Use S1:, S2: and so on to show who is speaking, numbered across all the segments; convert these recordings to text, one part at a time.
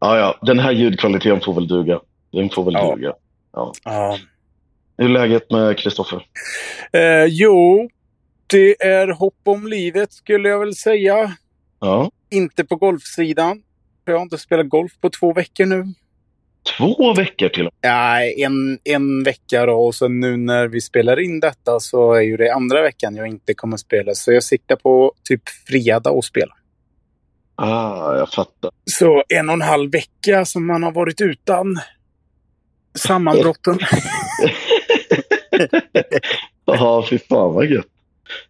S1: Ja, ja. Den här ljudkvaliteten får väl duga. Den får väl
S2: Ja.
S1: duga.
S2: Ja.
S1: Hur är läget med Kristoffer?
S2: Eh, jo, det är hopp om livet skulle jag väl säga.
S1: Ja.
S2: Inte på golfsidan. för Jag har inte spelat golf på två veckor nu.
S1: Två veckor till och
S2: Nej, en, en vecka då och sen nu när vi spelar in detta så är ju det andra veckan jag inte kommer spela. Så jag siktar på typ fredag och spela.
S1: med. Ah, jag fattar.
S2: Så en och en halv vecka som man har varit utan sammanbrotten.
S1: Ja, fy fan vad gött.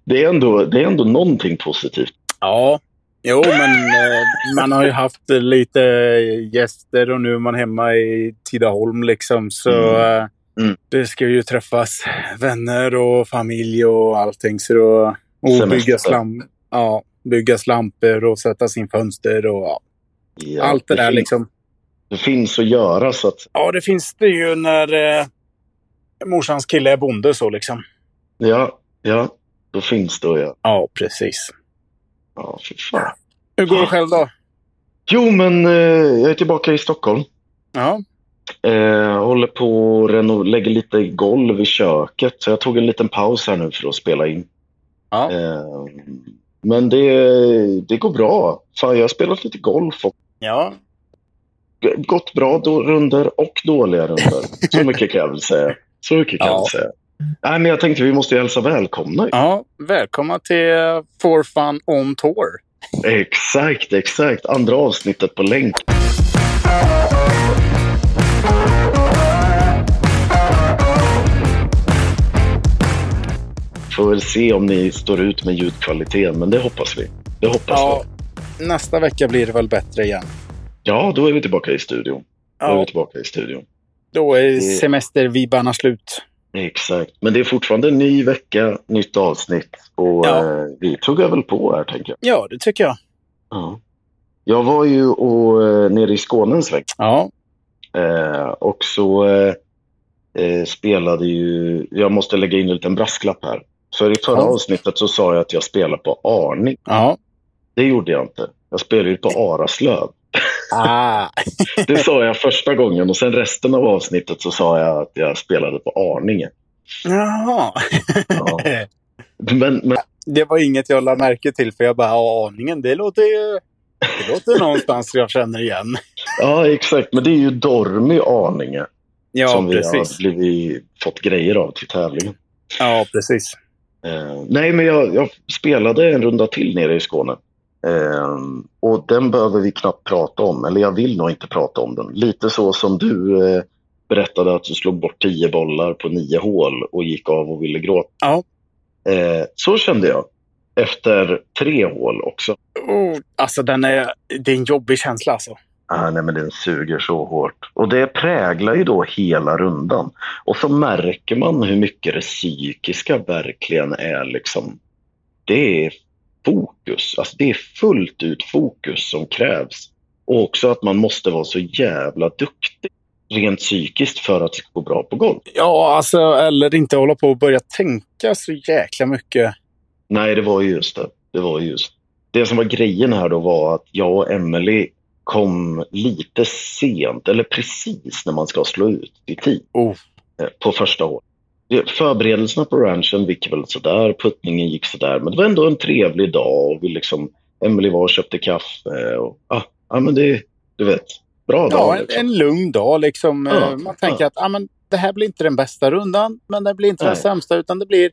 S1: Det är, ändå, det är ändå någonting positivt.
S2: Ja, jo men eh, man har ju haft eh, lite eh, gäster och nu är man hemma i Tidaholm liksom. Så eh,
S1: Mm.
S2: det ska ju träffas vänner och familj och allting. Så då, och
S1: Semester.
S2: bygga, slam, ja, bygga slampor och sätta sin fönster och ja,
S1: Ja,
S2: allt det där
S1: finns,
S2: liksom.
S1: Det finns att göra så att...
S2: Ja, det finns det ju när eh, morsans kille är bonde så liksom.
S1: Ja, ja. Då finns det att göra.
S2: Ja, precis.
S1: Ja, fy fan.
S2: Hur går det själv då?
S1: Jo, men eh, jag är tillbaka i Stockholm.
S2: Ja,
S1: Eh, håller på att reno- lägger lite golv i köket. Så jag tog en liten paus här nu för att spela in.
S2: Ja.
S1: Eh, men det, det går bra. Fan, jag har spelat lite golf och
S2: ja.
S1: gått bra då, runder och dåliga runder. Så mycket kan jag väl säga. Så mycket kan
S2: Ja.
S1: jag väl säga. Nej, men jag tänkte vi måste ju hälsa välkomna.
S2: ja välkomna till eh, For Fun On Tour.
S1: Exakt, exakt. Andra avsnittet på länk. Får väl se om ni står ut med ljudkvaliteten, men det hoppas vi. Det hoppas
S2: Ja,
S1: vi.
S2: nästa vecka blir det väl bättre igen.
S1: Ja, då är vi tillbaka i studion. Då är vi
S2: Ja,
S1: tillbaka i studion.
S2: då är semestervibbarna slut.
S1: Exakt. Men det är fortfarande en ny vecka, nytt avsnitt. Och
S2: Ja.
S1: eh, vi tuggar väl på här, tänker jag.
S2: Ja, det tycker jag.
S1: Ja. Jag var ju och, eh, nere i Skåne en sväng.
S2: Ja,
S1: Eh, och så eh, eh, spelade ju, jag måste lägga in en liten brasklapp här. För i förra
S2: Ja.
S1: avsnittet så sa jag att jag spelar på Arning.
S2: ja.
S1: Det gjorde jag inte. Jag spelade ju på Araslöv.
S2: Ah.
S1: Det sa jag första gången och sen resten av avsnittet så sa jag att jag spelade på Arninge.
S2: Jaha.
S1: Ja. Men, men
S2: Det var inget jag lade märke till för jag bara, ja, aningen, det låter ju... Det låter någonstans jag känner igen.
S1: ja, exakt. Men det är ju Dormy Arninge
S2: Ja,
S1: som vi
S2: precis.
S1: har blivit, fått grejer av till tävlingen.
S2: Ja, precis.
S1: Eh, nej, men jag, jag spelade en runda till nere i Skåne. Eh, och den behöver vi knappt prata om, eller jag vill nog inte prata om den. Lite så som du eh, berättade att du slog bort tio bollar på nio hål och gick av och ville gråta.
S2: Ja.
S1: Eh, så kände jag efter tre hål också.
S2: Oh, alltså, den är, det är en jobbig känsla alltså.
S1: Ah, nej, men den suger så hårt. Och det präglar ju då hela rundan. Och så märker man hur mycket det psykiska verkligen är liksom. Det är fokus. Alltså det är fullt ut fokus som krävs. Och också att man måste vara så jävla duktig rent psykiskt för att det ska gå bra på golf.
S2: Ja, alltså, eller inte hålla på och börja tänka så jäkla mycket.
S1: Nej, det var ju just det. Det var ju just det. som var grejen här då var att jag och Emily kom lite sent, eller precis när man ska slå ut i tid
S2: Oh.
S1: eh, på första året. Det- Förberedelserna på ranchen gick väl sådär, puttningen gick sådär, men det var ändå en trevlig dag och vi liksom, Emily var och köpte kaffe och ah, ja, men det, du vet, bra
S2: Ja,
S1: dag.
S2: en,
S1: liksom.
S2: en lugn dag liksom.
S1: Ja,
S2: Eh, Man tänker att ah, men, det här blir inte den bästa rundan, men det blir inte den
S1: Nej.
S2: sämsta, utan det blir,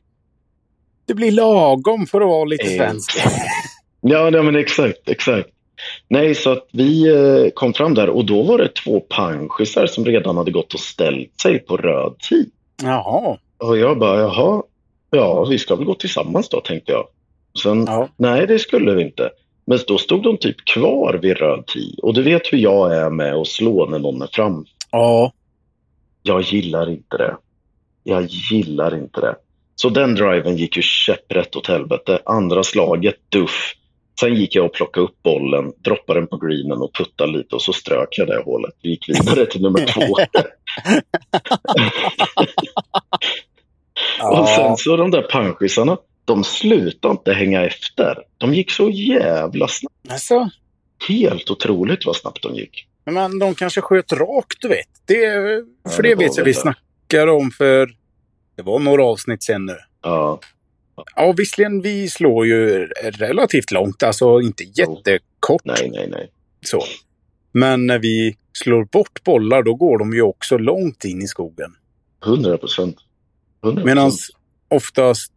S2: det blir lagom för att vara lite
S1: Eh,
S2: svensk.
S1: Ja, nej, men exakt, exakt. Nej, så att vi eh, kom fram där och då var det två panschisar som redan hade gått och ställt sig på röd tid.
S2: Jaha.
S1: Och jag bara, jaha, ja, vi ska väl gå tillsammans då, tänkte jag. Sen,
S2: Ja.
S1: nej, det skulle vi inte. Men då stod de typ kvar vid röd tid. Och du vet hur jag är med att slå när någon är fram.
S2: ja.
S1: Jag gillar inte det. Jag gillar inte det. Så den driven gick ju käpprätt åt helvete. Andra slaget, duff. Sen gick jag och plockade upp bollen, droppade den på greenen och puttade lite och så strök jag det hålet. Vi gick vidare till nummer två. Och sen så de där panschisarna, de slutade inte hänga efter. De gick så jävla snabbt.
S2: Alltså,
S1: Helt otroligt vad snabbt de gick.
S2: Men man, de kanske sköt rakt, du vet. Det, för
S1: det
S2: det
S1: var
S2: vet jag
S1: väl
S2: vi
S1: det.
S2: snackar om för... Det var några avsnitt sen nu.
S1: Ja,
S2: Ja, visserligen, vi slår ju relativt långt, alltså inte jättekort
S1: nej, nej, nej.
S2: så. Men när vi slår bort bollar, då går de ju också långt in i skogen.
S1: 100 procent.
S2: Medan oftast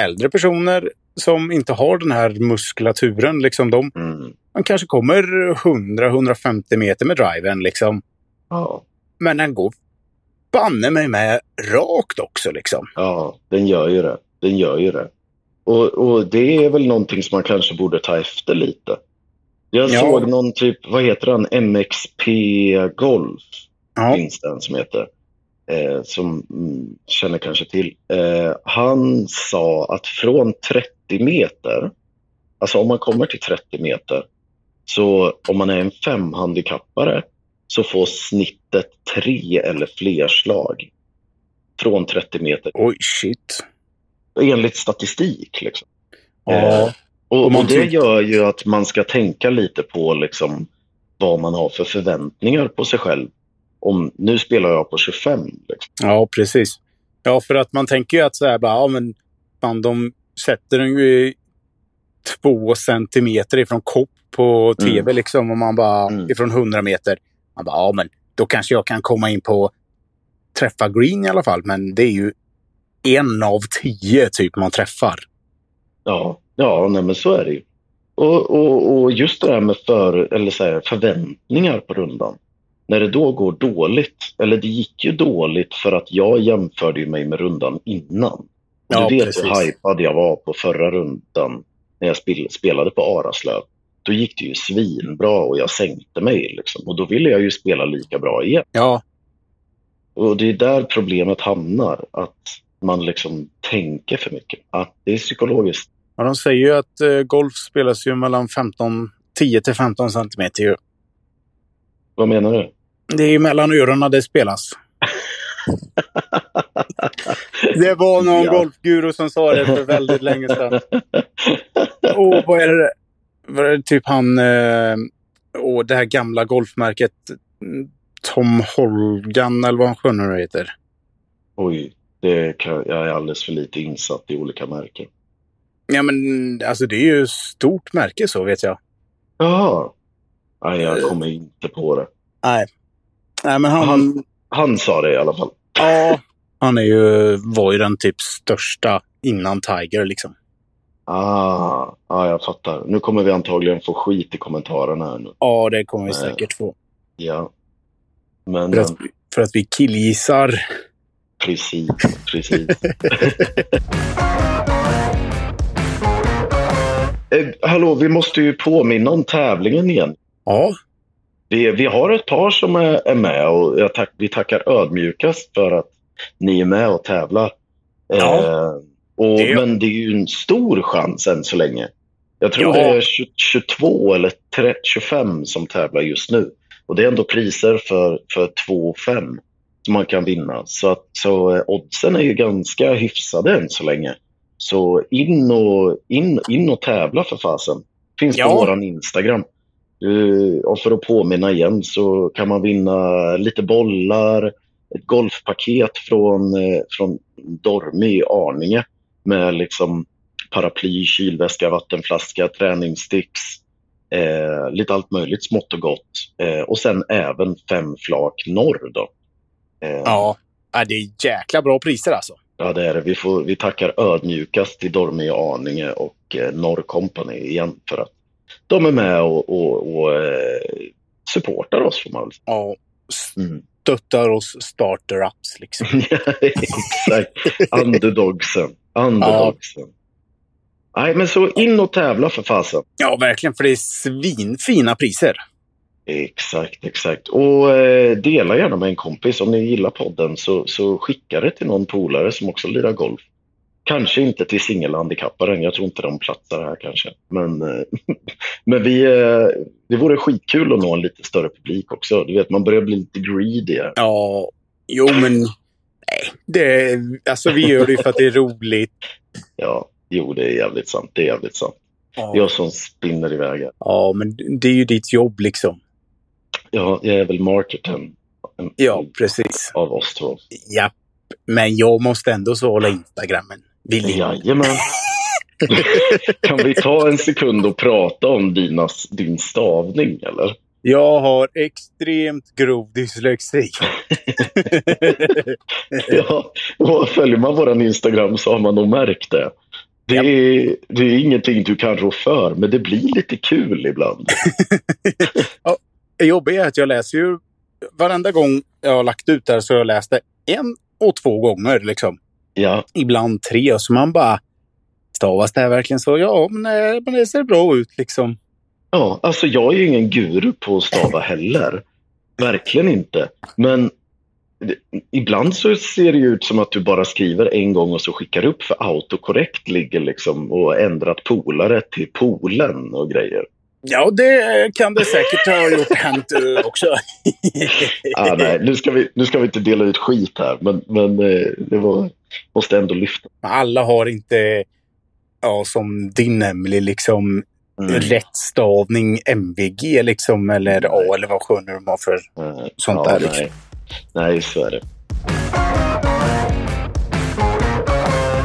S2: äldre personer som inte har den här muskulaturen, liksom de,
S1: Mm.
S2: de kanske kommer 100-150 meter med driven. Liksom.
S1: Ja,
S2: Men den går banne mig med rakt också. Liksom.
S1: ja, den gör ju det. Den gör ju det. Och, och det är väl någonting som man kanske borde ta efter lite. Jag
S2: Ja.
S1: såg någon typ, vad heter han, MXP Golf.
S2: Ja.
S1: finns det en som heter. Eh, som mm, känner kanske till. Eh, han sa att från 30 meter, alltså om man kommer till 30 meter, så om man är en femhandikappare så får snittet tre eller fler slag från 30 meter
S2: Oj, shit.
S1: enligt statistik. Liksom.
S2: Ja.
S1: Och,
S2: Och
S1: och,
S2: man
S1: det
S2: tyck-
S1: gör ju att man ska tänka lite på liksom vad man har för förväntningar på sig själv. Om, nu spelar jag på 25. Liksom.
S2: ja, precis. Ja, för att man tänker ju att så här, bara, ja, men, fan, de sätter den ju i två centimeter ifrån kopp på tv,
S1: Mm.
S2: liksom, och man bara,
S1: Mm.
S2: ifrån 100 meter. Man bara, ja, men då kanske jag kan komma in på träffa green i alla fall, men det är ju en av tio typ man träffar.
S1: Ja, ja nej, men så är det ju. Och, och, och just det här med för, eller så här, förväntningar på rundan. När det då går dåligt, eller det gick ju dåligt för att jag jämförde ju mig med rundan innan. Och
S2: Ja,
S1: du vet hur
S2: precis.
S1: hypad jag var på förra rundan när jag spel- spelade på Araslöv. Då gick det ju svinbra och jag sänkte mig liksom. Och då ville jag ju spela lika bra igen.
S2: Ja,
S1: Och det är där problemet hamnar, att man liksom tänker för mycket. Att det är psykologiskt.
S2: Ja, de säger ju att eh, golf spelas ju mellan 15, 10 till 15 centimeter. Ju.
S1: Vad menar du?
S2: Det är ju mellan öronen det spelas. Det var någon
S1: Ja.
S2: golfguru som sa det för väldigt länge sedan. Och vad är det? Vad är det typ han... Eh, och det här gamla golfmärket mm, Tom Holgan eller vad han sjön nu heter.
S1: Oj, det kan, jag är alldeles för lite insatt i olika märken.
S2: Ja, men alltså det är ju stort märke så vet jag.
S1: Jaha. Nej, jag kommer inte på det.
S2: Nej, men han...
S1: Han- Han sa det i alla fall.
S2: ja, han är ju, var ju den typ största innan Tiger liksom.
S1: Ah, ah, jag fattar. Nu kommer vi antagligen få skit i kommentarerna här nu.
S2: Ja, det kommer vi
S1: Nej.
S2: säkert få.
S1: Ja. Men,
S2: För
S1: men
S2: att, för att vi killgissar.
S1: precis, precis. eh, hallå, vi måste ju påminna om tävlingen igen.
S2: Ja,
S1: Vi, vi har ett par som är, är med och jag tack, vi tackar ödmjukast för att ni är med och tävlar.
S2: Ja.
S1: Eh, och,
S2: Det är-
S1: Men det är ju en stor chans än så länge. Jag tror
S2: Ja.
S1: det är 20 22 eller 30, 25 som tävlar just nu. Och det är ändå priser för, för 2 5 som man kan vinna. Så, att, så eh, oddsen är ju ganska hyfsade än så länge. Så in och, in, in och tävla för fasen. Finns på
S2: Ja.
S1: våran Instagram. Eh, och för att påminna igen så kan man vinna lite bollar, ett golfpaket från, eh, från Dormi i Arninge med liksom paraply, kylväska, vattenflaska, träningssticks, eh, lite allt möjligt smått och gott. Eh, och sen även fem flak norr då. Eh,
S2: ja. ja det är jäkla bra priser alltså.
S1: Ja, det är det. Vi, får, vi tackar ödmjukast till Dormi och Arninge och eh, Norr Company igen för att de är med och, och, och eh, supportar oss får man väl säga.
S2: Ja,
S1: Mm.
S2: stöttar oss starter-ups liksom.
S1: Exakt. Underdogsen. Underdogsen. Nej, men så in och tävla för fasen.
S2: Ja, verkligen, för det är svinfina priser.
S1: Exakt, exakt. Och eh, dela gärna med en kompis. Om ni gillar podden så, så skicka det till någon polare som också lirar golf. Kanske inte till singelhandikapparen. Jag tror inte de platsar här kanske. Men, eh, men vi, eh, det vore skitkul att nå en lite större publik också. Du vet, man börjar bli lite greedy här.
S2: Ja, jo men... Nej, det, alltså vi gör det ju för att det är roligt.
S1: Ja, jo, det är jävligt sant. Det är jävligt sant.
S2: Ja,
S1: Jag som spinner iväg här.
S2: ja men det är ju ditt jobb liksom.
S1: Ja, jag är väl marketen
S2: Ja, precis.
S1: av oss två.
S2: Ja. Men jag måste ändå svara Instagrammen. Vill jag.
S1: Jajamän. kan vi ta en sekund och prata om dina, din stavning eller?
S2: jag har extremt grov dyslexi.
S1: Ja, och följer man våran Instagram så har man nog märkt det. Det är, det är ingenting du kan rå för, men det blir lite kul ibland.
S2: Det jobbiga är att jag läser ju varenda gång jag har lagt ut där så har jag läst det en och två gånger liksom.
S1: Ja,
S2: Ibland tre. Så man bara stavas det här verkligen så? Ja, men eh, men det ser bra ut liksom.
S1: ja alltså jag är ju ingen guru på att stava heller. Verkligen inte. Men det- ibland så ser det ju ut som att du bara skriver en gång och så skickar upp för autokorrekt ligger liksom och har ändrat polare till polen och grejer.
S2: Ja, det kan det säkert ha gjort hänt eh, också.
S1: Ah, nej, nu ska, vi, nu ska vi inte dela ut skit här, men, men eh, det var, måste ändå lyfta.
S2: Men alla har inte, ja, som din Emily liksom
S1: Mm.
S2: rätt stavning MVG liksom, eller A eller vad sjön nu de har för.
S1: Nej,
S2: Sånt där, liksom.
S1: Nej. nej, så är det.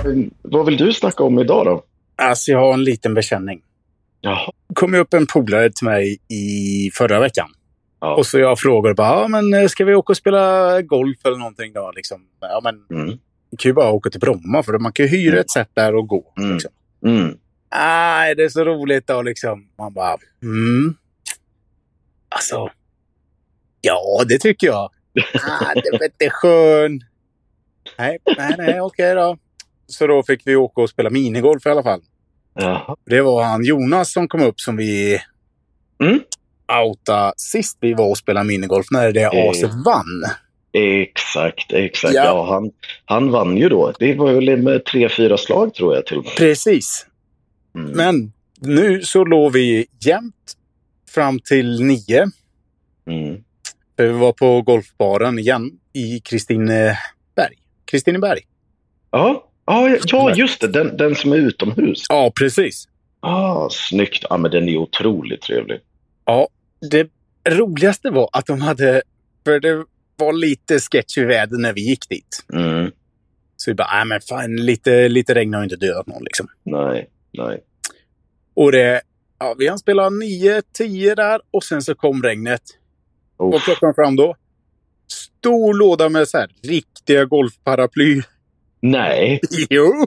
S1: Men Vad vill du snacka om idag då?
S2: Alltså, jag har en liten bekänning.
S1: Jaha.
S2: kom ju upp en polare till mig i förra veckan.
S1: Ja.
S2: Och så jag frågade bara, ja men eh, ska vi åka och spela golf eller någonting då? Liksom, ja men,
S1: Mm.
S2: vi kan ju bara åka till Bromma för man kan ju hyra ett sätt där och gå.
S1: Mm.
S2: Liksom.
S1: Mm.
S2: Nej, det är så roligt då liksom. Man bara, mm. Alltså, ja det tycker jag. Ah, det vete skön. Nej, nej, nej, okej då. Så då fick vi åka och spela minigolf i alla fall.
S1: Jaha.
S2: Det var han Jonas som kom upp som vi
S1: Mm.
S2: outa sist vi var och spelade minigolf när det
S1: Eh,
S2: aset vann.
S1: Exakt, exakt.
S2: Ja.
S1: Ja. han, han vann ju då. Det var väl med tre, fyra slag tror jag till och med.
S2: Precis.
S1: Mm.
S2: Men nu så låg vi jämnt fram till nio.
S1: Mm.
S2: För vi var på golfbaren igen i Kristineberg. Kristineberg.
S1: Ja. Ja, ja, ja, just det. Den, den som är utomhus.
S2: Ja, precis.
S1: Ah, snyggt. Ja, men den är otroligt trevlig.
S2: Det roligaste var att de hade... För det var lite sketchy väder när vi gick dit.
S1: Mm.
S2: Så vi bara, nej men fan, lite, lite regn har ju inte dödat någon liksom.
S1: Nej, nej.
S2: Och det... Ja, vi hann spela nio, tio där och sen så kom regnet. Vad
S1: Uff.
S2: plockade han fram då? Stor låda med så här riktiga golfparaply.
S1: Nej.
S2: Jo!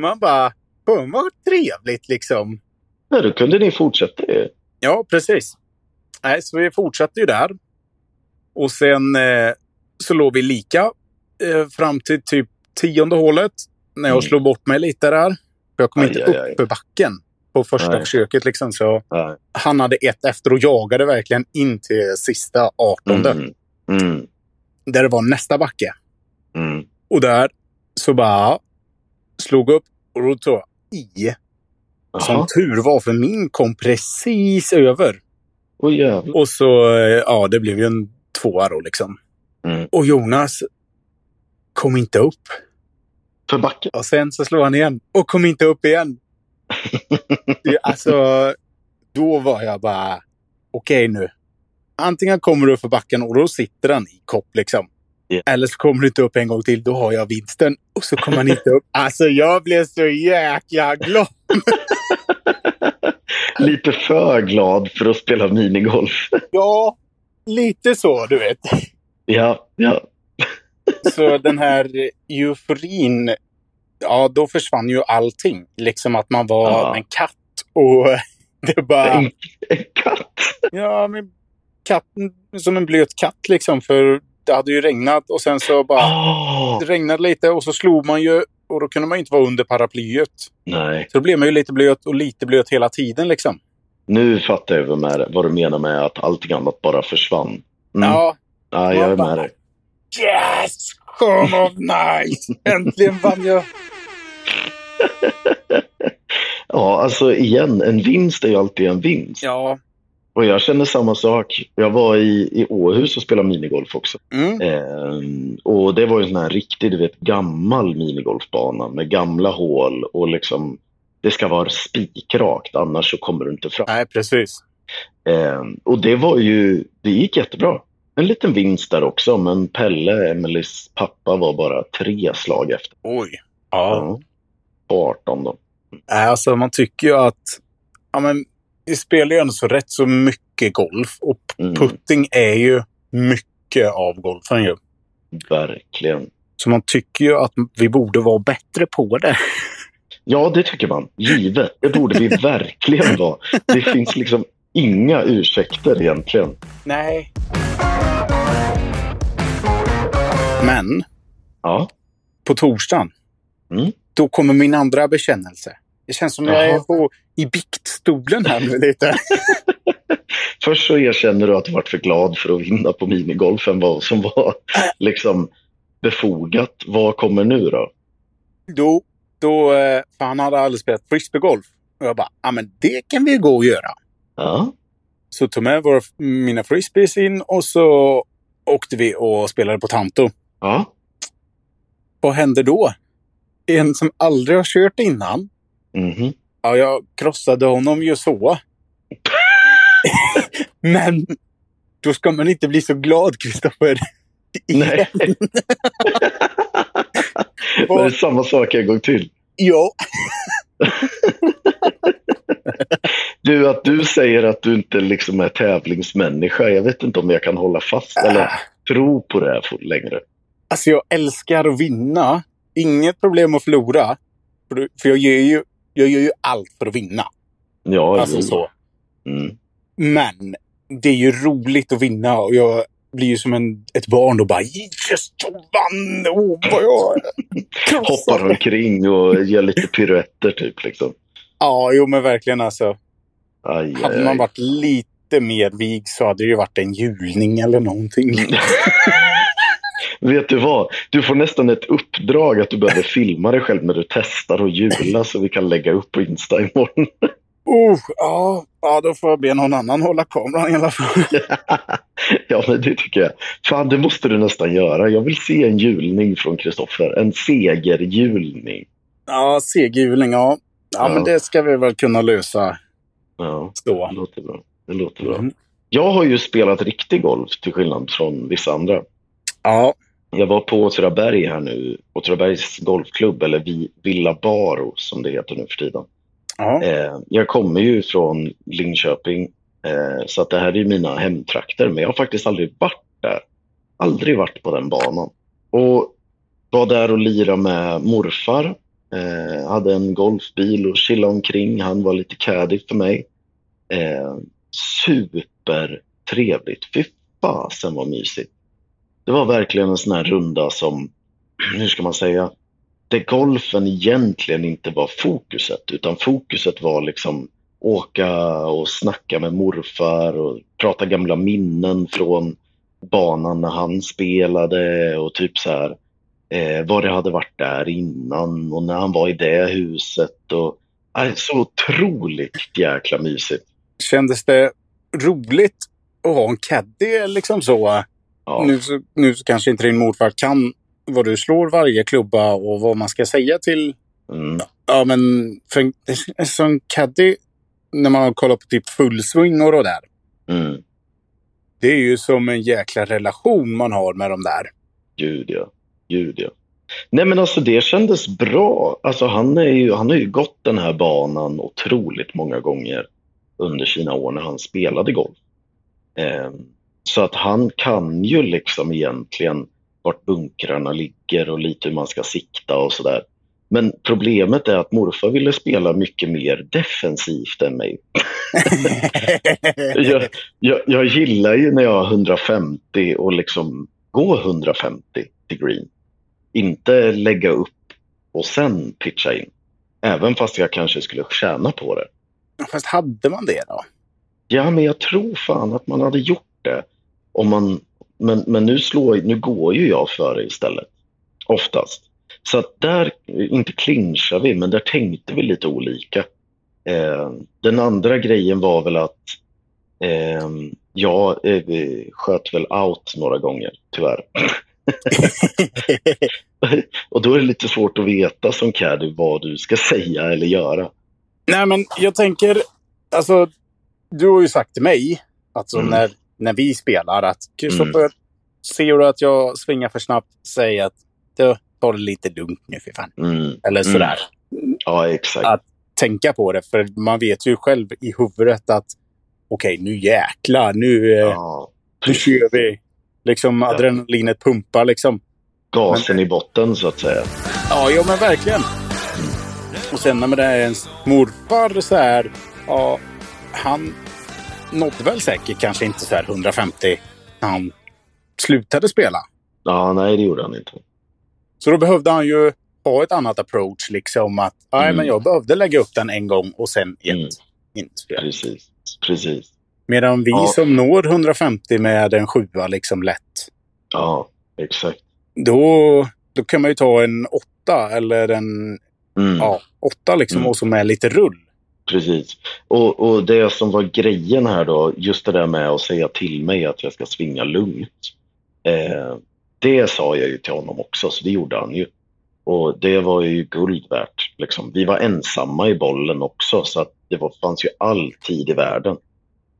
S2: Man bara, fan vad trevligt liksom.
S1: Ja, då kunde ni fortsätta ju.
S2: Ja, precis. Nej, så vi fortsatte ju där. Och sen eh, så låg vi lika eh, fram till typ tionde hålet. När jag
S1: Mm.
S2: slog bort mig lite där. Jag kom
S1: Aj,
S2: inte
S1: aj,
S2: upp
S1: aj.
S2: för backen på första
S1: Nej.
S2: försöket liksom. Så
S1: Ja.
S2: han hade ett efter och jagade verkligen in till sista artonde.
S1: Mm. Mm.
S2: Där det var nästa backe.
S1: Mm.
S2: Och där så bara ja, slog upp och då tog jag i. Som
S1: Jaha.
S2: tur var för min kom precis över.
S1: Åh jävlar.
S2: Och så, eh, ja det blev ju en tvåa då liksom.
S1: Mm.
S2: Och Jonas kom inte upp.
S1: För backen.
S2: Och sen så slog han igen och kom inte upp igen. Det- alltså, då var jag bara, okej nu. Antingen kommer du upp för backen och då sitter han i kopp liksom.
S1: Ja.
S2: Eller så kommer du inte upp en gång till, då har jag vinsten. Och så kommer han inte upp. Alltså jag blev så jäkla glad.
S1: Lite för glad för att spela minigolf.
S2: Ja, lite så du vet.
S1: ja, ja.
S2: Så den här euforin, ja då försvann ju allting. Liksom att man var
S1: Ja.
S2: en katt och det bara...
S1: En, en katt.
S2: Ja, men katten som en blöt katt liksom. För det hade ju regnat och sen så bara
S1: Åh,
S2: det regnade lite och så slog man ju och då kunde man ju inte vara under paraplyet.
S1: Nej,
S2: Så då blev man ju lite blöt och lite blöt hela tiden liksom.
S1: nu fattar jag vad, med, vad du menar med att allting annat bara försvann. Mm. Ja,
S2: Ja.
S1: jag är med dig.
S2: Yes! Come of nice! Äntligen vann jag!
S1: Ja, alltså igen, en vinst är ju alltid en vinst.
S2: Ja.
S1: Och jag känner samma sak. Jag var i, i Åhus och spelade minigolf också.
S2: Mm.
S1: Ehm, och det var ju en sån här riktig, du vet, gammal minigolfbana med gamla hål och liksom det ska vara spikrakt annars så kommer du inte fram.
S2: Nej, precis.
S1: Eh, och det var ju, det gick jättebra. En liten vinst där också, men Pelle, Emelies pappa, var bara tre slag efter.
S2: Oj.
S1: Ja. På 18 då.
S2: Nej, Alltså man tycker ju att... Ja, men, vi spelar ju ändå så rätt så mycket golf. Och
S1: Mm,
S2: putting är ju mycket av golfen ju.
S1: verkligen.
S2: Så man tycker ju att vi borde vara bättre på det.
S1: Ja, det tycker man. Givet. Det borde vi verkligen vara. Det finns liksom inga ursäkter egentligen.
S2: Nej. Men
S1: Ja,
S2: på torsdagen,
S1: Mm.
S2: då kommer min andra bekännelse. Det känns som jag är
S1: Jaha.
S2: på, i biktstolen här nu lite.
S1: först så erkänner du att du varit för glad för att vinna på minigolfen, vad som var liksom befogat. Vad kommer nu då?
S2: Då, då, eh, för han hade aldrig spelat frisbeegolf. Och jag bara, ja men det kan vi gå och göra.
S1: Ja,
S2: Så tog med våra, mina frisbees in och så åkte vi och spelade på Tanto.
S1: ja.
S2: Vad hände då? En som aldrig har kört innan.
S1: mhm.
S2: Ja, jag krossade honom ju så. Men då ska man inte bli så glad, Kristoffer.
S1: Nej. Det är samma sak en gång till.
S2: Ja,
S1: Du, att du säger att du inte liksom är tävlingsmänniska, jag vet inte om jag kan hålla fast eller tro på det här for- längre.
S2: alltså jag älskar att vinna. Inget problem att förlora. För, du- för jag, gör ju, jag gör ju allt för att vinna.
S1: Ja,
S2: Alltså
S1: jo.
S2: så.
S1: Mm.
S2: Men det är ju roligt att vinna och jag blir ju som en, ett barn och bara yes, jag vann! Åh, vad jag
S1: Hoppar omkring och gör lite piruetter typ. Liksom.
S2: Ja, jo men verkligen alltså.
S1: Aj, aj,
S2: Hade
S1: aj.
S2: man varit lite mer vig så hade det ju varit en julning eller någonting.
S1: Mm. Vet du vad? Du får nästan ett uppdrag att du behöver filma dig själv när du testar och jula så vi kan lägga upp på Insta imorgon.
S2: Oh, ja, ja, då får jag be någon annan hålla kameran i alla fall.
S1: ja, men det tycker jag. Fan, det måste du nästan göra. Jag vill se en julning från Kristoffer. En segerjulning.
S2: Ja, segerhjuling, ja. ja.
S1: Ja.
S2: men det ska vi väl kunna lösa
S1: Ja, det
S2: då.
S1: låter bra. Det låter bra.
S2: Mm.
S1: Jag har ju spelat riktig golf till skillnad från vissa andra.
S2: Ja,
S1: Jag var på Åtvidaberg här nu, Åtvidabergs golfklubb eller Vi- Villa Baro som det heter nu för tiden.
S2: ja.
S1: Eh, jag kommer ju från Linköping eh, så att det här är ju mina hemtrakter men jag har faktiskt aldrig varit där. Aldrig varit på den banan. Och var där och lirade med morfar. Eh, hade en golfbil och chillade omkring. Han var lite caddy för mig. Eh, supertrevligt. Fy fasen vad mysigt. Det var verkligen en sån här runda som, hur ska man säga, där golfen egentligen inte var fokuset, utan fokuset var liksom åka och snacka med morfar och prata gamla minnen från banan när han spelade och typ så här eh, vad det hade varit där innan och när han var i det huset och nej, så otroligt jäkla mysigt.
S2: Kändes det roligt att ha en caddy liksom så?
S1: Ja.
S2: Nu, så nu så kanske inte din morfar kan vad du slår varje klubba och vad man ska säga till
S1: Mm.
S2: Ja, men för en, en sån caddy, när man kollar på typ fullsvingor och där,
S1: Mm.
S2: det är ju som en jäkla relation man har med de där.
S1: Gud ja. Gud ja. Nej men alltså det kändes bra. Alltså han, är ju, han har ju gått den här banan otroligt många gånger under sina år när han spelade golf. Ehm, så att han kan ju liksom egentligen vart bunkrarna ligger och lite hur man ska sikta och sådär. Men problemet är att morfar ville spela mycket mer defensivt än mig. jag, jag, jag gillar ju när jag har 150 och liksom gå 150 till green. Inte lägga upp och sen pitcha in. Även fast jag kanske skulle tjäna på det.
S2: Fast hade man det då?
S1: Ja, men jag tror fan att man hade gjort det. Om man, men men nu, slår, nu går ju jag före istället, oftast. Så att där, inte clinchar vi, men där tänkte vi lite olika. Eh, den andra grejen var väl att eh, jag eh, vi sköt väl out några gånger, tyvärr. Och då är det lite svårt att veta som caddy vad du ska säga eller göra.
S2: Nej, men jag tänker, alltså, du har ju sagt till mig, alltså
S1: Mm.
S2: när, när vi spelar, att Kristoffer,
S1: Mm.
S2: ser du att jag svingar för snabbt, säg att du tar det lite lugnt nu för fan.
S1: Mm.
S2: Eller
S1: Mm.
S2: sådär.
S1: Ja, exakt.
S2: Att- Tänka på det, för man vet ju själv i huvudet att okej, nu jäklar, nu, eh,
S1: Ja.
S2: nu kör vi. Liksom
S1: Ja.
S2: adrenalinet pumpar liksom.
S1: Gasen i botten så att säga.
S2: Ja, jo men verkligen. Och sen när det är ens morfar så här, ja, han nådde väl säkert kanske inte så här 150 när han slutade spela.
S1: Ja, nej det gjorde han inte.
S2: Så då behövde han ju ha ett annat approach, liksom att nej,
S1: Mm.
S2: men jag behövde lägga upp den en gång och sen igen.
S1: Mm.
S2: Inte fel.
S1: Precis. Precis.
S2: Medan vi
S1: Ja.
S2: som når 150 med en sjua liksom lätt,
S1: Ja, exakt.
S2: då, då kan man ju ta en åtta eller en
S1: Mm.
S2: ja, åtta liksom
S1: Mm.
S2: och så med lite rull.
S1: Precis. Och, och det som var grejen här då, just det där med att säga till mig att jag ska svinga lugnt. Eh, det sa jag ju till honom också, så det gjorde han ju. Och det var ju guld värt. Liksom. Vi var ensamma i bollen också, så att det var, fanns ju all tid i världen.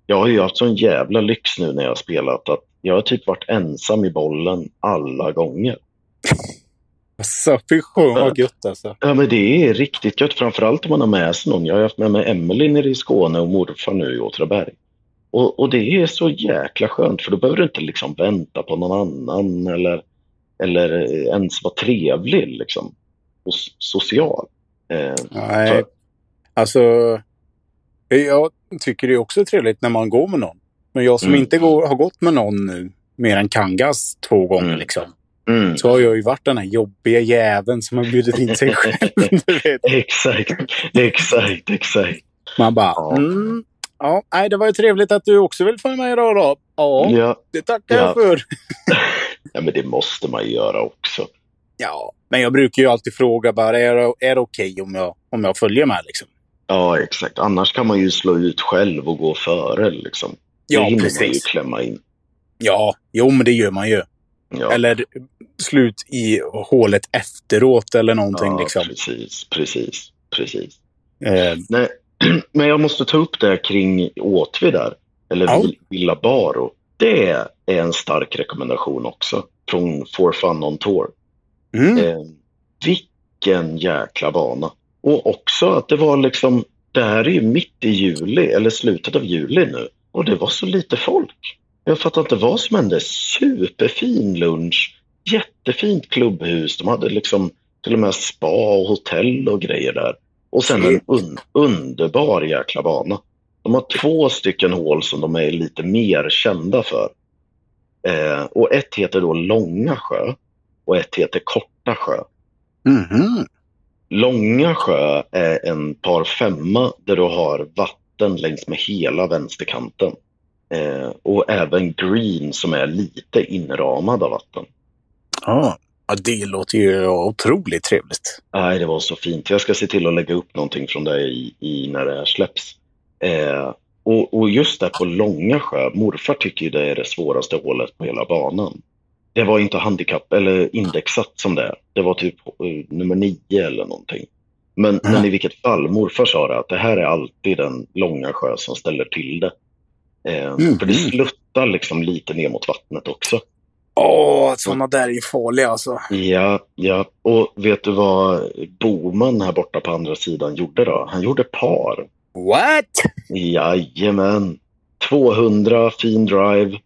S1: Jag har ju haft sån jävla lyx nu när jag har spelat att jag har typ varit ensam i bollen alla gånger.
S2: Alltså, fy sjön vad gött alltså.
S1: Ja, men det är riktigt gött, framförallt om man har med sig någon. Jag har haft med mig Emelie nere i Skåne och morfar nu i Åtvidaberg. Och, och det är så jäkla skönt, för då behöver du inte liksom vänta på någon annan eller, eller ens vara trevlig liksom, och s- social. Eh,
S2: Nej. Alltså, jag tycker det är också trevligt när man går med någon. Men jag som
S1: Mm.
S2: inte går, har gått med någon nu, mer än Kangas två gånger
S1: Mm.
S2: liksom.
S1: mm.
S2: så har jag ju varit den här jobbiga jäveln som har bjudit in sig själv. Du vet.
S1: Exakt, exakt, exakt.
S2: Man bara,
S1: Ja.
S2: ja. Mm, ja, nej, det var ju trevligt att du också vill följa med idag då. Ja,
S1: Ja.
S2: det tackar
S1: Ja.
S2: jag för.
S1: ja, men det måste man ju göra också.
S2: Ja, men jag brukar ju alltid fråga bara, är det, är det okej om, jag, om jag följer med liksom?
S1: Ja, exakt. Annars kan man ju slå ut själv och gå före. Liksom. det
S2: Ja,
S1: hinner man ju
S2: precis.
S1: klämma in.
S2: Ja, jo, men det gör man ju.
S1: Ja.
S2: Eller slut i hålet efteråt eller någonting liksom.
S1: Precis, precis, precis.
S2: Eh,
S1: Nej, men jag måste ta upp det här kring Åtvi där, eller
S2: Ja.
S1: Vil- Villa Baro. Det är en stark rekommendation också från For Fun On Tour.
S2: mm,
S1: Eh, vilken jäkla bana. Och också att det var liksom, det här är ju mitt i juli, eller slutet av juli nu, och det var så lite folk. Jag fattar inte vad som hände. Superfin lunch, jättefint klubbhus, de hade liksom till och med spa och hotell och grejer där. Och sen en un- underbar jäkla bana. De har två stycken hål som de är lite mer kända för. Eh, och ett heter då Långa sjö och ett heter Korta sjö.
S2: mhm.
S1: Långa sjö är en par femma där du har vatten längs med hela vänsterkanten. Eh, och även green som är lite inramad av vatten.
S2: Ja. ja, det låter ju otroligt trevligt.
S1: Nej, det var så fint. Jag ska se till att lägga upp någonting från dig i, i när det här släpps. Eh, och, och just där på Långa sjö, morfar tycker ju det är det svåraste hålet på hela banan. Det var inte handikapp eller indexat som det är. Det var typ eh, nummer nio eller någonting. Men,
S2: Mm.
S1: men i vilket fall, morfar sa det att det här är alltid den Långa sjö som ställer till det. Eh,
S2: Mm.
S1: För det sluttar liksom lite ner mot vattnet också.
S2: Åh, sådana där är ju farliga alltså.
S1: Ja, ja. Och vet du vad Boman här borta på andra sidan gjorde då? Han gjorde par.
S2: What?
S1: Jajamän. 200 fin drive.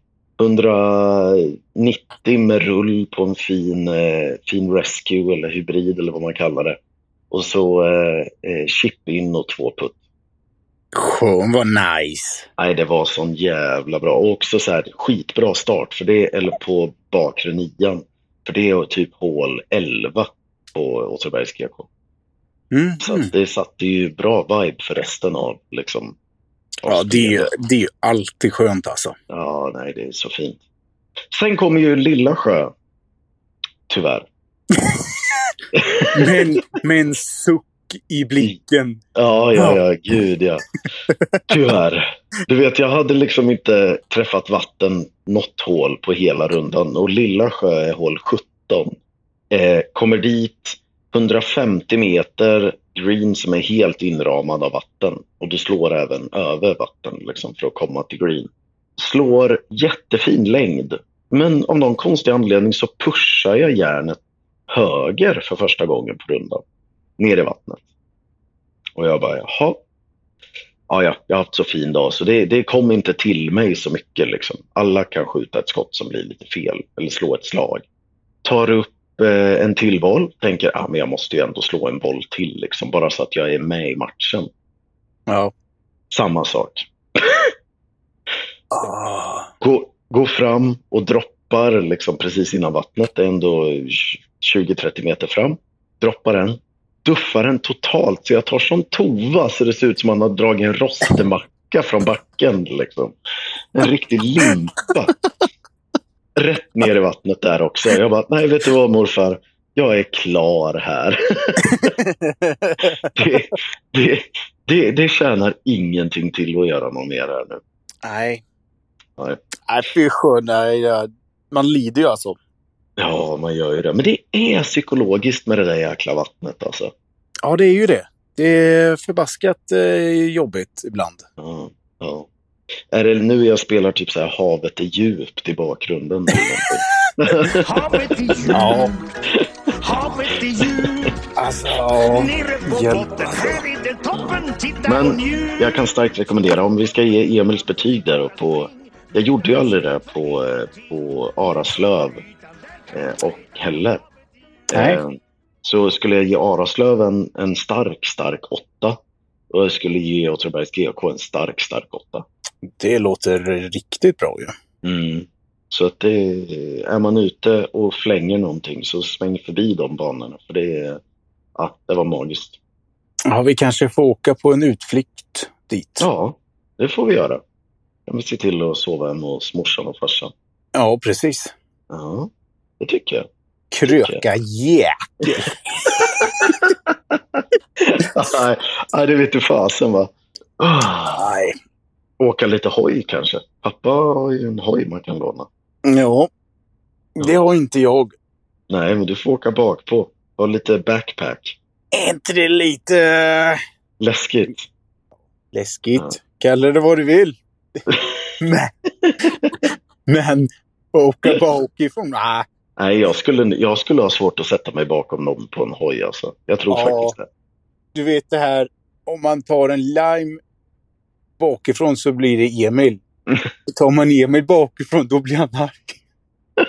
S1: 190 med rull på en fin, eh, fin rescue eller hybrid eller vad man kallar det. Och så eh, eh, chip in och två putt.
S2: Sjön var nice.
S1: Nej, det var sån jävla bra. Och också så här skitbra start för det, eller på bakre nian. För det är typ hål 11 på Åtvidabergs GK.
S2: Mhm.
S1: Så att det satte ju bra vibe för resten av liksom. av
S2: Ja, det är, ju,
S1: spelet.
S2: det är ju alltid skönt alltså.
S1: Ja, nej, det är så fint. Sen kommer ju Lilla Sjö. Tyvärr.
S2: Men med en suck i blicken.
S1: Ja, ja, ja, gud ja. Tyvärr. Du vet, jag hade liksom inte träffat vatten något hål på hela rundan och Lilla Sjö är hål 17. Eh, kommer dit, 150 meter green som är helt inramad av vatten och du slår även över vatten liksom, för att komma till green. Slår jättefin längd, men av någon konstig anledning så pushar jag järnet höger för första gången på rundan, ner i vattnet. Och jag bara, jaha. Ja, ja, jag har haft så fin dag så det, det kom inte till mig så mycket. Liksom. Alla kan skjuta ett skott som blir lite fel eller slå ett slag. Tar upp eh, en till boll, tänker ah, men jag måste ju ändå slå en boll till, liksom, bara så att jag är med i matchen.
S2: Ja.
S1: Samma sak.
S2: Ah.
S1: Gå, gå fram och droppar liksom, precis innan vattnet, det är ändå 20-30 meter fram. Droppar den, duffar den totalt, så jag tar som tova så det ser ut som att man har dragit en rostemacka från backen. Liksom. En riktig limpa rätt ner i vattnet där också. Jag bara, nej vet du vad morfar, jag är klar här. det, det, det, det tjänar ingenting till att göra något mer här nu.
S2: Nej.
S1: Nej.
S2: Nej, fy sjön. nej, ja. Man lider ju alltså.
S1: Ja, man gör ju det. Men det är psykologiskt med det där jäkla vattnet alltså.
S2: Ja, det är ju det. Det är förbaskat eh, jobbigt ibland.
S1: Ja, ja. Är det nu jag spelar typ så här havet är djupt i bakgrunden? Eller någonting?
S3: Havet är djupt,
S2: Ja.
S3: havet är djupt.
S2: Alltså, ja.
S3: Nere på
S2: Hjälp,
S3: botten,
S2: alltså.
S3: här är det toppen. Titta och
S1: Men
S3: njut.
S1: jag kan starkt rekommendera, om vi ska ge Emils betyg där och på... Jag gjorde ju aldrig det på, eh, på Araslöv eh, och Helle.
S2: Nej.
S1: Eh, Så skulle jag ge Araslöv en, en stark, stark åtta. Och jag skulle ge Åtvidabergs GK en stark, stark åtta.
S2: Det låter riktigt bra ju.
S1: Mm. Så att det, är man ute och flänger någonting så sväng förbi de banorna. För det, är- ja, det var magiskt.
S2: Ja, vi kanske får åka på en utflykt dit.
S1: Ja, det får vi göra. Jag vill se till att sova hemma hos morsan och farsan.
S2: Ja, precis.
S1: Ja, det tycker jag.
S2: Kröka yeah.
S1: Nej, nej, det vete fasen va. Ah,
S2: Nej.
S1: Åka lite hoj kanske. Pappa har ju en hoj man kan låna.
S2: Ja. Det har inte jag.
S1: Nej, men du får åka bak på. Ha lite backpack.
S2: Är inte det lite eh,
S1: Läskigt.
S2: läskigt?
S1: Ja.
S2: Kalla det vad du vill. men, men åka bakifrån? Nej.
S1: Nej, jag skulle, jag skulle ha svårt att sätta mig bakom någon på en hoj alltså. Jag tror
S2: Ja.
S1: faktiskt det.
S2: du vet det här, om man tar en lime bakifrån så blir det Emil. Tar man Emil bakifrån då blir han arg.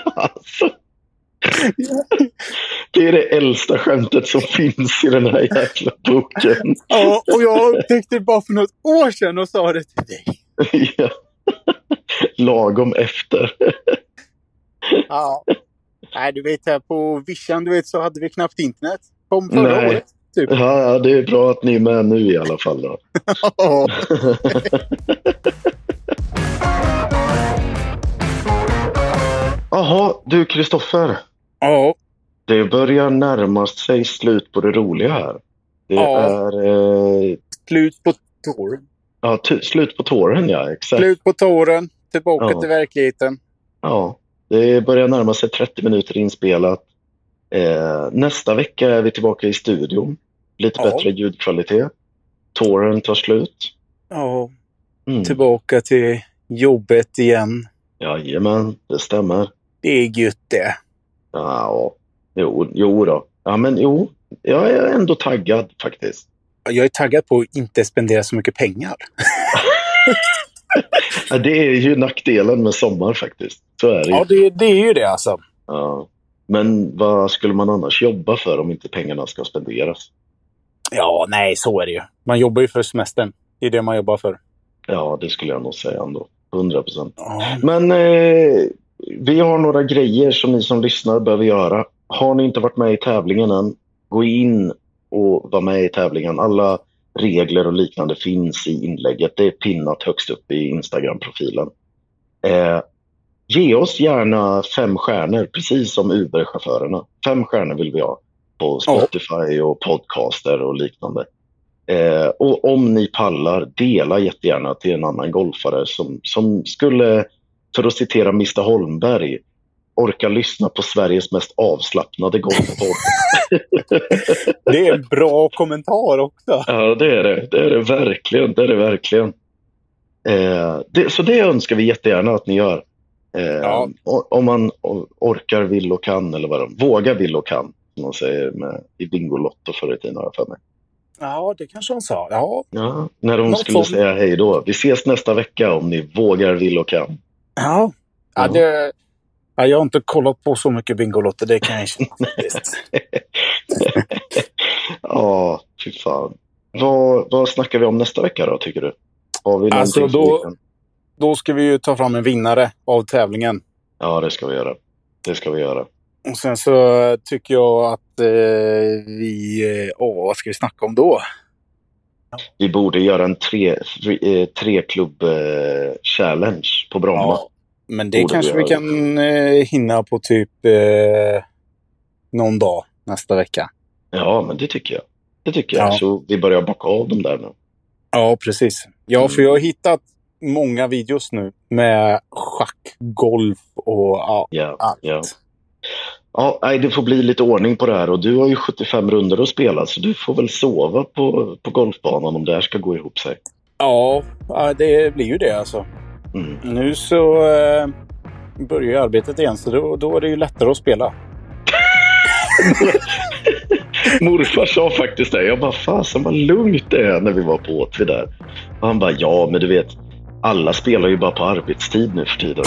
S1: Alltså. Det är det äldsta skämtet som finns i den här jäkla boken.
S2: Ja, och jag upptäckte det bara för något år sedan och sa det till dig.
S1: Ja. Lagom efter.
S2: Ja. Nej, du vet här på vischan, du vet så hade vi knappt internet. Kom förra
S1: Nej.
S2: året. Typ.
S1: Ja, ja, det är bra att ni är med nu i alla fall. Då.
S2: Ja.
S1: Jaha, du Kristoffer.
S2: ja.
S1: Det börjar närma sig slut på det roliga här. Det
S2: Ja.
S1: är eh,
S2: Slut på tåren.
S1: ja, t- slut på tåren, ja. Exakt.
S2: Slut på tåren. Tillbaka
S1: Ja.
S2: till verkligheten.
S1: Ja, det börjar närma sig 30 minuter inspelat. Eh, nästa vecka är vi tillbaka i studion. Lite
S2: Ja.
S1: bättre ljudkvalitet. Tåren tar slut.
S2: Ja.
S1: Mm.
S2: Tillbaka till jobbet igen.
S1: Jajamän, det stämmer.
S2: Det är gött det.
S1: Ja, jo, jo då. Ja, men jo, jag är ändå taggad faktiskt.
S2: Jag är taggad på att inte spendera så mycket pengar.
S1: Ja, det är ju nackdelen med sommar faktiskt. Så är det ju.
S2: Ja, det, det är ju det alltså.
S1: Ja. Men vad skulle man annars jobba för om inte pengarna ska spenderas?
S2: Ja, nej, så är det ju. Man jobbar ju för semestern. Det är det man jobbar för.
S1: Ja, det skulle jag nog säga ändå. 100 procent.
S2: Ja.
S1: Men eh, vi har några grejer som ni som lyssnar behöver göra. Har ni inte varit med i tävlingen än, gå in och var med i tävlingen. Alla regler och liknande finns i inlägget. Det är pinnat högst upp i Instagram-profilen. Eh, ge oss gärna fem stjärnor, precis som Uber-chaufförerna. Fem stjärnor vill vi ha på Spotify och podcaster och liknande. Eh, och om ni pallar, dela jättegärna till en annan golfare som, som skulle, för att citera Mr Holmberg, orkar lyssna på Sveriges mest avslappnade golfpodd.
S2: Det är en bra kommentar också.
S1: Ja, det är det. Det är det verkligen. Det är det verkligen. Eh, det, så det önskar vi jättegärna att ni gör. Eh,
S2: Ja.
S1: o- Om man o- orkar, vill och kan, eller vad de vågar, vill och kan, som man säger med, i Bingolotto förr i tiden, har jag för mig.
S2: Ja, det kanske hon sa. Ja,
S1: Ja, när de
S2: Någon
S1: skulle
S2: form.
S1: säga hej då. Vi ses nästa vecka om ni vågar, vill och kan.
S2: ja. ja,
S1: Ja.
S2: det, ja jag har inte kollat på så mycket Bingolotto, det kan jag erkänna faktiskt.
S1: Ja, fy fan. Vad, vad snackar vi om nästa vecka då, tycker du? Har vi
S2: Alltså,
S1: någonting som
S2: då-
S1: vi kan-
S2: Då ska vi ju ta fram en vinnare av tävlingen.
S1: Ja, det ska vi göra. Det ska vi göra.
S2: Och sen så tycker jag att eh, vi... eh, Åh, vad ska vi snacka om då?
S1: Vi borde göra en tre, tre, eh, treklubb eh, challenge på Bromma.
S2: Ja, men det
S1: Borde
S2: kanske
S1: vi
S2: vi
S1: göra.
S2: kan eh, hinna på typ eh, någon dag nästa vecka.
S1: Ja, men det tycker jag. Det tycker jag.
S2: Ja.
S1: Så vi börjar bocka av dem där nu.
S2: Ja, precis. Ja, för jag har hittat många videos nu med schack, golf och ja,
S1: Ja,
S2: allt.
S1: ja. ja nej, det får bli lite ordning på det här och du har ju 75 runder att spela så du får väl sova på, på golfbanan om det här ska gå ihop sig.
S2: Ja, ja, det blir ju det alltså.
S1: Mm.
S2: Nu så eh, börjar ju arbetet igen, så då, då är det ju lättare att spela.
S1: Morfar sa faktiskt det. Jag bara, fasen vad lugnt det är när vi var på Åtvid där. Och han bara, ja men du vet, alla spelar ju bara på arbetstid nu för tiden.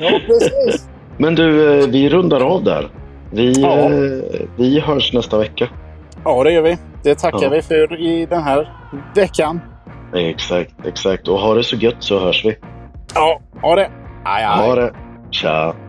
S2: Ja, precis.
S1: Men du, eh, vi rundar av där. Vi,
S2: Ja.
S1: eh, vi hörs nästa vecka.
S2: Ja, det gör vi. Det tackar
S1: Ja.
S2: vi för i den här veckan.
S1: Exakt, exakt. Och ha det så gött så hörs vi.
S2: Ja, ha det. Aj, aj.
S1: Ha det. Tja.